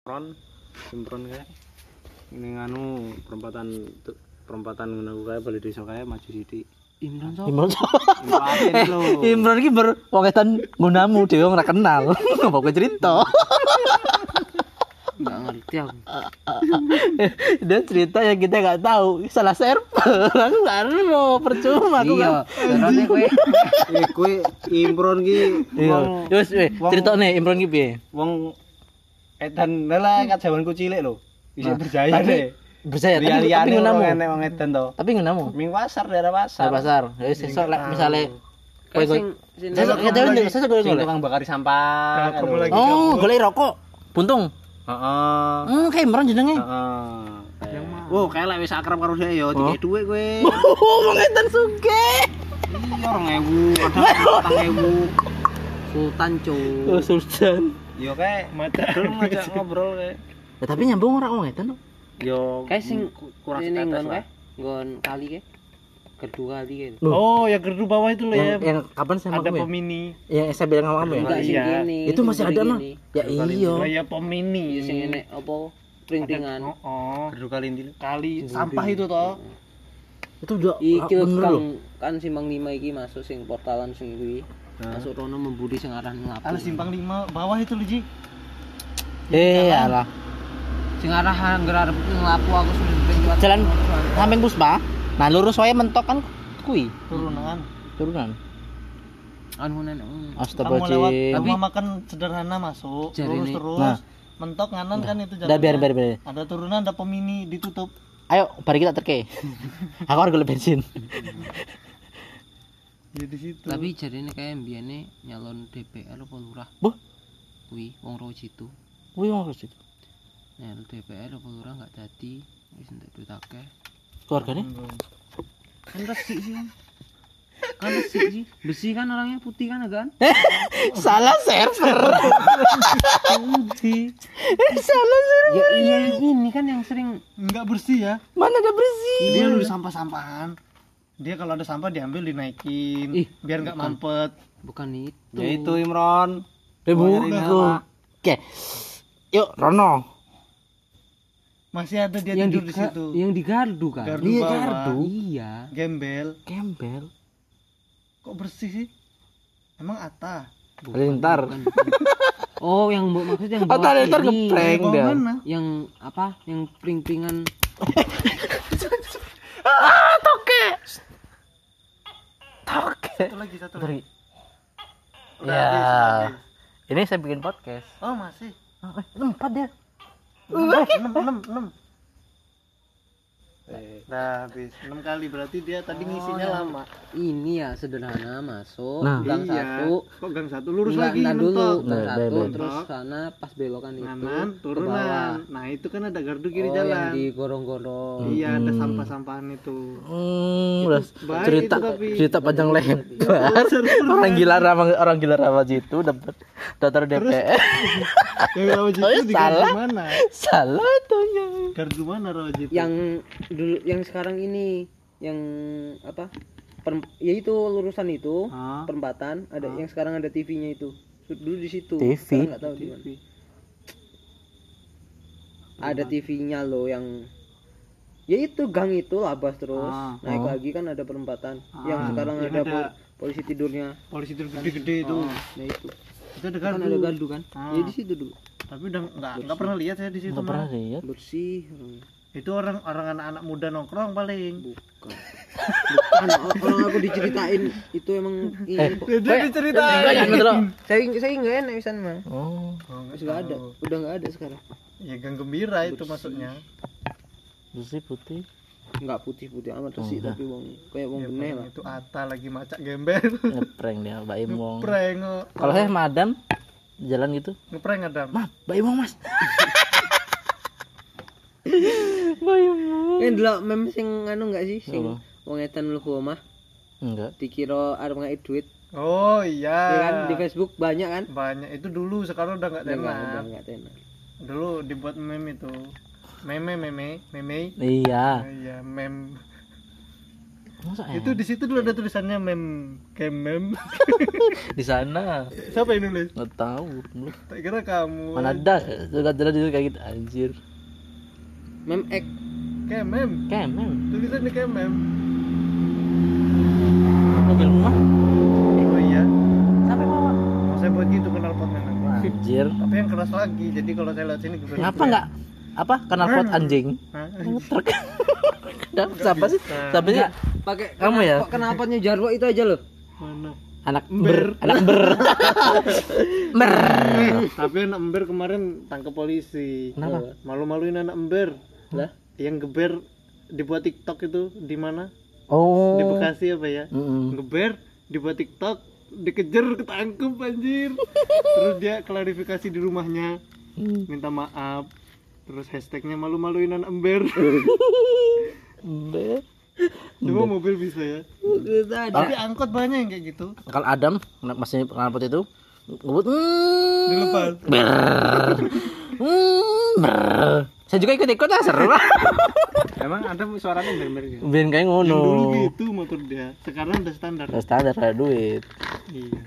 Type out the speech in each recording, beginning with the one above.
Simpron Simpron kayak ini anu perempatan perempatan menunggu kayak balik desa kayak maju sidi Imron so Imron Impatin Eh, lo Imron iki ber wong edan nggunamu dhewe ora kenal. Ngopo kowe cerita? nggak ngerti aku Dia cerita yang kita nggak tahu salah server. Aku nggak mau percuma aku kan. iya nggak- berarti kowe eh kue Imron ki Iya. wong Terus weh, wong- ceritane Imron ki piye? wong edan lah kajawanku cilik lo bisa berjaya deh Percaya tapi Lihat-lihat tapi orang nggunamu. enek wong edan to Tapi nggunamu. Ming pasar daerah pasar. Di pasar. Ya sesuk lek misale kowe sing sing sesuk Sesuk ya tukang tapi bagi- sesuk kowe sing golek. tukang bakari sampah. Nah, kamu lagi. Oh, golek rokok. Buntung. Heeh. Hmm, kayak Imron jenenge. Heeh. Oh, kayak lek wis akrab karo dhek ya, dikek dhuwit kowe. Oh, wong edan sugih. Iya 2000, kadang 4000. sultan cu Oh, Sultan. Yo kayak Mata. belum ngajak ngobrol kayak. Ya, tapi nyambung ora wong edan. Yo kayak sing ku- kurang ini setetes nggon lah. kae nggon kali ke kedua kali ke Oh, yang gerdu bawah itu loh ya. Iya. Yang, yang kapan sama Ada kamu ya? pemini. Yang saya bilang sama kamu ya? enggak sing Iya. gini Itu masih ada mah. Gini. Ya Oh iya. ya pemini. Iya, sing enek apa printingan Oh, oh. Gerdu kali ini. Kali sampah itu toh. Itu udah iki bener kang loh. kan simpang lima iki masuk sing portalan sing kuwi masuk rono membudi sing aran Ada ngapu simpang lima bawah itu loh, Ji. Eh, alah. sing arah ngger arep ngelapu aku sudah penjual Jalan samping Puspa. Nah, lurus wae mentok kan kui Turunan. turunan. anu nenek mm. Kamu lewat Astagfirullahaladzim. rumah makan sederhana masuk, Jari lurus ini. terus. Nah. Mentok nganan kan itu Udah biar biar biar. Ada turunan, ada pemini ditutup. Ayo, mari kita terke. Aku harus golek bensin. Ya di situ. tapi jarine kayak mbiyane nyalon DPR apa lurah Boh. kuwi wong roh situ Wih, mau itu. nyalon DPR apa lurah gak dadi wis entek duit akeh Keluargane? Hmm. kan resik sih kan kan resik sih besi kan orangnya putih kan kan Salah server. putih Salah server. ya iya yang ini kan yang sering Enggak bersih ya. Iya. Mana ada bersih? Dia lu sampah-sampahan. Dia kalau ada sampah diambil dinaikin Ih, biar nggak mampet. bukan itu Ya itu Imron. Eh, bukan. Oke. Yuk, Rono. Masih ada dia yang di tidur di situ. yang di gardu kan Iya. Gardu Iya, bawah. gardu. iya Gembel. Gembel. Kok bersih sih? Emang Ata? Lintar. bukan. oh yang mbok maksud yang Oh, bawah tadi ntar ini. geprank Bawah dah. mana? yang apa yang pring-pringan Satu lagi, satu lagi. Ya. Ini saya bikin podcast. Oh masih. Empat dia. enam, enam, enam. Nah, habis enam kali berarti dia tadi ngisinya lama. ini ya sederhana masuk Nah. gang satu Kok gang satu lurus Enggak, lagi entar dulu mentok. gang Nah, satu baik-baik. terus sana pas belokan itu Kanan, ke bawah turunan. Nah, itu kan ada gardu oh kiri yang jalan. di gorong-gorong Iya, ada sampah-sampahan itu. Hmm, udah baik cerita itu tapi. cerita panjang lebar. orang gila ramah orang gila ramah itu dapat daftar DPR. Yang Rawajito Oh, iya, di gardu salah. mana? Salah tuhnya. Gardu mana Rawajito? yang dulu yang sekarang ini yang apa perem- ya itu lurusan itu Ah. perempatan ada yang sekarang ada TV-nya itu dulu di situ TV? Sekarang nggak tahu di mana ada TV-nya loh yang ya itu gang itu labas terus Ah. naik lagi kan ada perempatan Ah, yang sekarang yang ada, ada- pol- polisi tidurnya polisi tidur gede-gede itu. nah itu Itu ada kan ada gardu. gardu kan Ah. ya di situ dulu Tapi udah nggak nggak pernah lihat saya di situ. Enggak Mas. pernah lihat. bersih Hmm. orangnya. Itu orang orang anak-anak muda nongkrong paling. bukan bukan o- orang Kan, aku diceritain itu emang ini kok. Jadi cerita. saya saya nggak enak pisan mah Oh, Terus nggak ada udah nggak ada sekarang Ya gang gembira itu maksudnya. bersih putih. nggak putih putih amat resik tapi wong kayak wong benih lah Itu Ata lagi macak gembel. Ngeprank dia Mbak Imong. Prank. Kalau saya madam jalan gitu. Ngeprank Adam. Mam, Mbak Imong, Mas. ini dulu Eh, mem sing anu nggak sih sing Apa? wong etan lu omah Enggak. dikira arep ngai duit Oh ya kan iya. di Facebook banyak kan Banyak itu dulu sekarang udah nggak Udah nggak udah tenar. nggak tenar Dulu dibuat meme itu. Meme meme meme. Iya. Iya, meme. Masa ya? Itu di situ dulu ada tulisannya mem kayak mem. di sana. Siapa yang nulis? Enggak tahu. Lu Tak kira kamu. mana ada jelas-jelas itu kayak gitu anjir. Mem ek Kayak mem. Kemen. Tulisannya kayak mem. Mobil rumah. Oh iya. Sampai bawa. Mau saya buat gitu kenal pot memang. Anjir. Tapi yang keras lagi. Jadi kalau saya lewat sini kebetulan. Ngapa enggak apa kenal pot anjing? Hah? Truk. Kenapa siapa sih? Siapa sih? pakai Kamu ya? kenapanya jarwo itu aja loh. Mana? Anak ber, anak ber. Ber. Tapi anak ember kemarin tangkap polisi. Eh, Kenapa? Malu-maluin anak ember. Lah? Yang geber dibuat TikTok itu di mana? Di Oh. Bekasi apa ya? Mm-mm. ngeber dibuat TikTok dikejar ketangkep anjir terus dia klarifikasi di rumahnya Hmm. minta maaf terus hashtagnya malu-maluin anak ember Ber. cuma mobil bisa ya Ah. tapi angkot banyak yang kayak gitu Kalau Adam kenapa- masih kenal pot itu ngebut. Mm. dilepas Brrr. Hmm, brrr. Saya juga ikut-ikut lah seru lah. Emang ada suaranya ember gitu? Ben kayak yang dulu ngono. gitu motor dia sekarang udah standar Terus standar ada duit. iya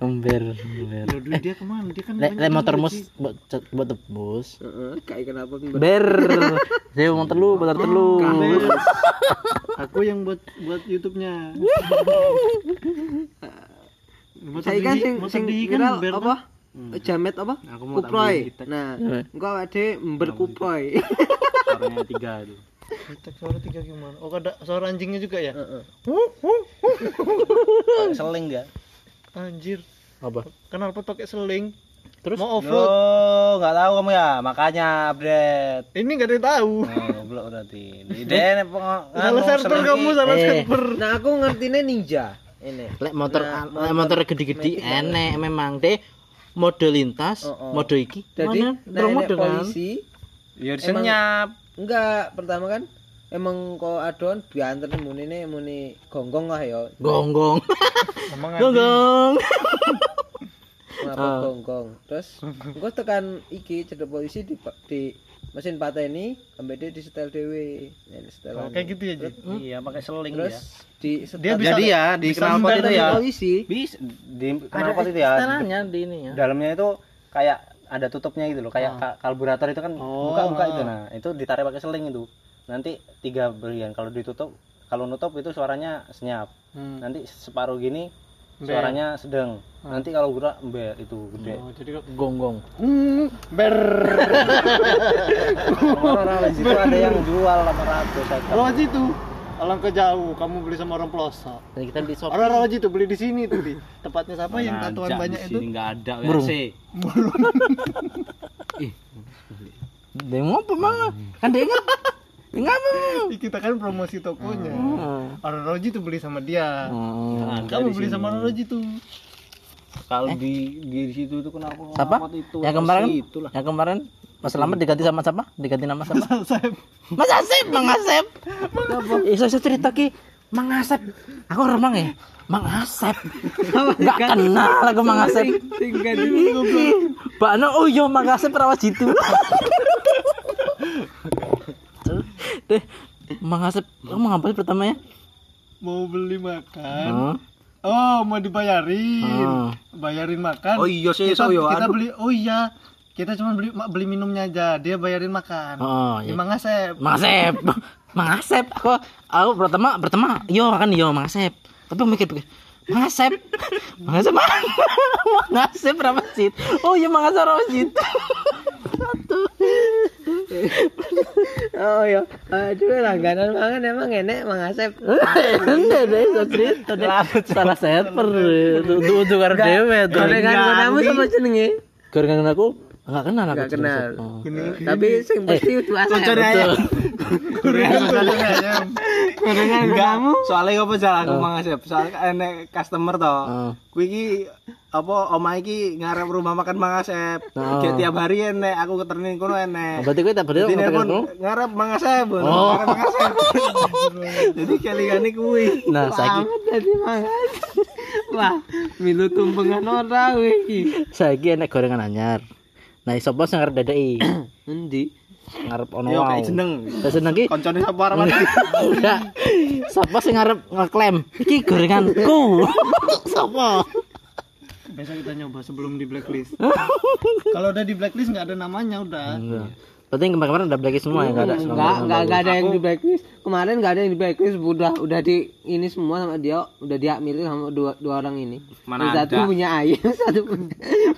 Ember, ember. Loh, duit dia kemana dia kan Le, le banyak motor duit, mus Ci. buat cet- buat tebus. Heeh, kayak kenapa Mem? Ber. Saya mau terlu, motor terlu. Ember. aku yang buat buat YouTube-nya motor Saya kan Didi- sing motor sing Didi kan viral ember kan? apa? Jamet apa? Aku mau Kuproy. tambahin Nah, Iya. gua ade berkuproy. Suaranya tiga itu. Cek suara tiga gimana? Oh ada suara anjingnya juga ya? Seleng enggak? Anjir, Apa? kenalpot pakai seling. Terus? mau off-road. Lo enggak tahu kamu ya, makanya update. Ini enggak ada yang tahu. Oh, goblok berarti. Ide salah server kamu salah eh. server. Nah, aku ngertinya ninja. Ini. Le motor le Nah, motor gede-gede enek memang deh. Mode lintas, Oh, oh. mode iki. Jadi Mana? nah, Terus ini mode kan? polisi Ya Emang- senyap. enggak pertama kan emang kok adon diantar muni ini muni gonggong lah yo. Gonggong. Emang Gonggong. Kenapa gonggong? Terus gua tekan iki cedek polisi di di mesin pateni ambek dia di setel dewe. Ini setel. Oh, kayak gitu ya, Ji. Iya, pakai seling Terus ya. di setel Dia bisa Jadi ya, di bisa knalpot itu nendang ya. polisi. Bis di knalpot itu ya. Caranya di ini ya. dalamnya itu kayak ada tutupnya gitu loh kayak ka- karburator itu kan buka-buka itu nah itu ditarik pakai seling itu nanti tiga berian kalau ditutup kalau nutup itu suaranya senyap Hmm. nanti separuh gini suaranya sedang nanti kalau gerak ember itu gede Oh, jadi kok Gonggong. Hmm, ber. orang-orang di situ ada yang jual 800 saya kira. Rawaji itu orang ke jauh, kamu beli sama orang pelosok. Dan kita di shop. Orang Rawaji itu beli di sini tuh, Di. Tempatnya siapa yang tatuan banyak itu? nggak ada Burung. WC Dia ngopo mah? Kan dia ingat. Ingat apa? Ih, Kita kan promosi tokonya. Hmm. Orang Rawaji itu beli sama dia. Nah, Hmm. Kamu beli sama orang Rawaji tuh. kalau di di situ itu kenapa Siapa? kenapa itu Yang kemarin? itu lah Yang kemarin Mas Slamet diganti sama siapa? Diganti nama siapa? Saya Mas Asep, Mang Asep. Iso iso cerita ki Mang Asep. Aku orang Mang ya. Mang Asep. Gak kenal aku Mang Asep. Bakno oh iya Mang Asep perawat jitu. Deh, Mang Asep, kamu ngapain pertama ya? mau beli makan. Hmm. Oh, mau dibayarin. Hmm. Bayarin makan. Oh iya sih, so kita, yo, kita aduh. beli. Oh iya. Kita cuma beli ma- beli minumnya aja. Dia bayarin makan. Oh, iya. Gimana Sep? Mang Asep, Mang Asep, aku aku pertama pertama yo kan yo Mang Asep. Tapi aku mikir-pikir Mang Asep, Mang Asep, Mang, Mang Asep berapa sih? Oh iya Mang Asep berapa sih? Satu. Oh ya, aduh langganan mangan emang enek Mang Asep. Enggak deh, so cerita deh. Salah server, untuk untuk karena dewe tuh. Gorengan kamu sama jenenge. Gorengan aku nggak kenal aku. Enggak Cik. kenal. Oh. Tapi sing pasti itu Asep. Betul. kamu soalnya apa jalan aku mang Asep soalnya enek customer toh Oh. kuwi iki apa oma iki ngarep rumah makan mang Asep Oh. Kayak tiap hari enek aku keternin kono enek Berarti gue tak berdua Dine ngobrol pun ngarep mang Asep ngono, Oh. ngarep Mang Asep. jadi kelingane kuwi Nah, saiki Jadi mangan. Wah, milu tumpengan ora kowe iki. saiki enek gorengan anyar Nah, sapa sing arep dadeki? Endi? Ngarep ono Yo wae. kayak jeneng. Lah seneng ki Koncone sapa arep enggak. Sapa sing arep ngeklaim iki gorenganku? Sapa? Besok kita nyoba sebelum di blacklist. Kalau udah di blacklist nggak ada namanya udah. Enggak. Berarti Nah, kemarin-kemarin udah blacklist semua ya, enggak Hmm. ada semua. Enggak, enggak, enggak ada yang di blacklist. Kemarin enggak ada yang di blacklist, udah udah di ini semua sama dia, udah dia milih sama dua dua orang ini. Mana Yang satu ada? punya Ayu, satu punya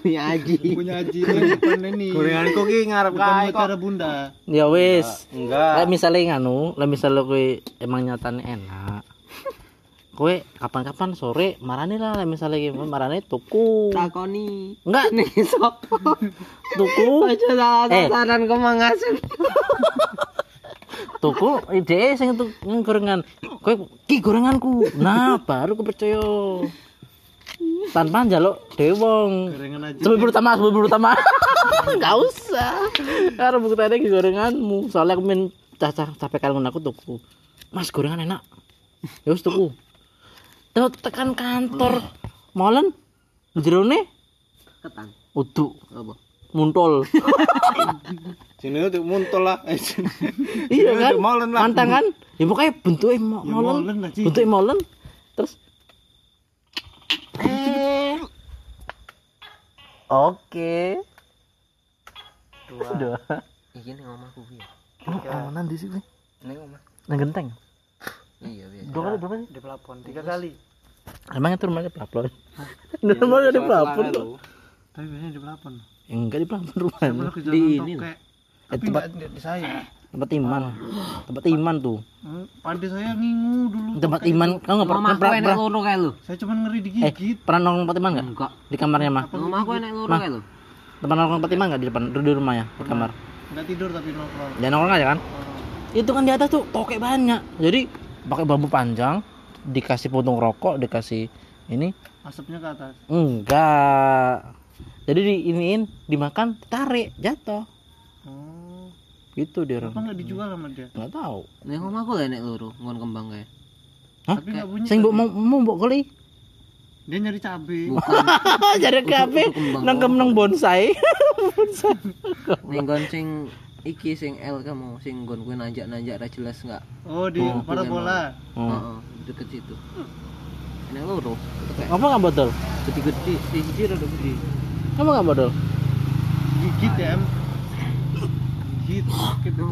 punya Aji. Punya Aji ini bukan ini. Gorenganku ki ngarep Bukan kae kok. mutiara bunda. Ya wis. Enggak. Lah misalnya nganu, lah misalnya kowe emang nyatane enak. Kowe kapan-kapan sore marani lah lah misalnya kowe marani tuku. Takoni. Enggak, Nih sopo. tuku. Aja salah Eh. sasaran ke Mang Asep. Tuku ide sing tuku gorengan. Kowe ki gorenganku. Nah, baru kepercaya. Tanpa njaluk dhewe wong. Gorengan Aji. Sebelum pertama, sebelum pertama. Enggak usah. Karena buktinya ki gorenganmu. Soalnya aku min cacah capek kalung aku tuku. Mas gorengan enak. Ya wis tuku. Terus tekan kantor. Molen jerone Ketan. uduk Apa? muntol. Jenenge tuh muntul lah. Eh, jeneng. iya kan Udah molen lah. mantang kan ya pokoknya bentuknya mo Ya, molen, molen lah, Ci. bentuknya molen terus eh oke dua Iki ning omahku piye? oh, nanti sih Ning omah. nang genteng Iya, biasa. dua kali berapa sih Di pelapon tiga kali. emang itu rumahnya pelapon Iya, rumahnya di pelapon kok Eh, Tapi biasanya di pelapon. enggak di pelapon Pernah rumahnya ke di jalan ini loh. tokek. Tapi nggak di di saya. tempat iman tempat iman tuh Hmm, Padi saya ngingu dulu. tempat iman kamu nggak pernah Omahku pernah enek pernah loro kae lho. Saya cuma ngeri eh digigit. pernah nongkrong tempat iman nggak Enggak. di kamarnya mah Omahku enek loro Mah. kae lho. tempat nongkrong tempat iman nggak di depan di rumahnya di kamar Nggak tidur tapi nongkrong. Ya nongkrong aja kan. Itu kan di atas tuh tokek banyak. Jadi pakai bambu panjang, dikasih puntung rokok, dikasih ini Asapnya ke atas. enggak. Jadi diiniin, dimakan, tarik, jatuh. Oh. Gitu dia Apa orang. nggak dijual sama dia? Enggak tahu. Ning omahku lho enek loro, ngon kembang kae. Hah? Tapi nggak bunyi. Sing mbok mau mau mbok kali. Dia nyari cabe. Bukan Jadi kafe kembang nang nang bonsai. ning nggon sing iki sing L kamu sing nggon kuwi nanjak-nanjak ra jelas enggak. Oh, di Oh, parabola. Hmm. Heeh, deket situ. Enek loro. Kayak Apa enggak botol? gede-gede, siji rada gede. Apa enggak botol? Gigit ya, em. Gigit. Gigit.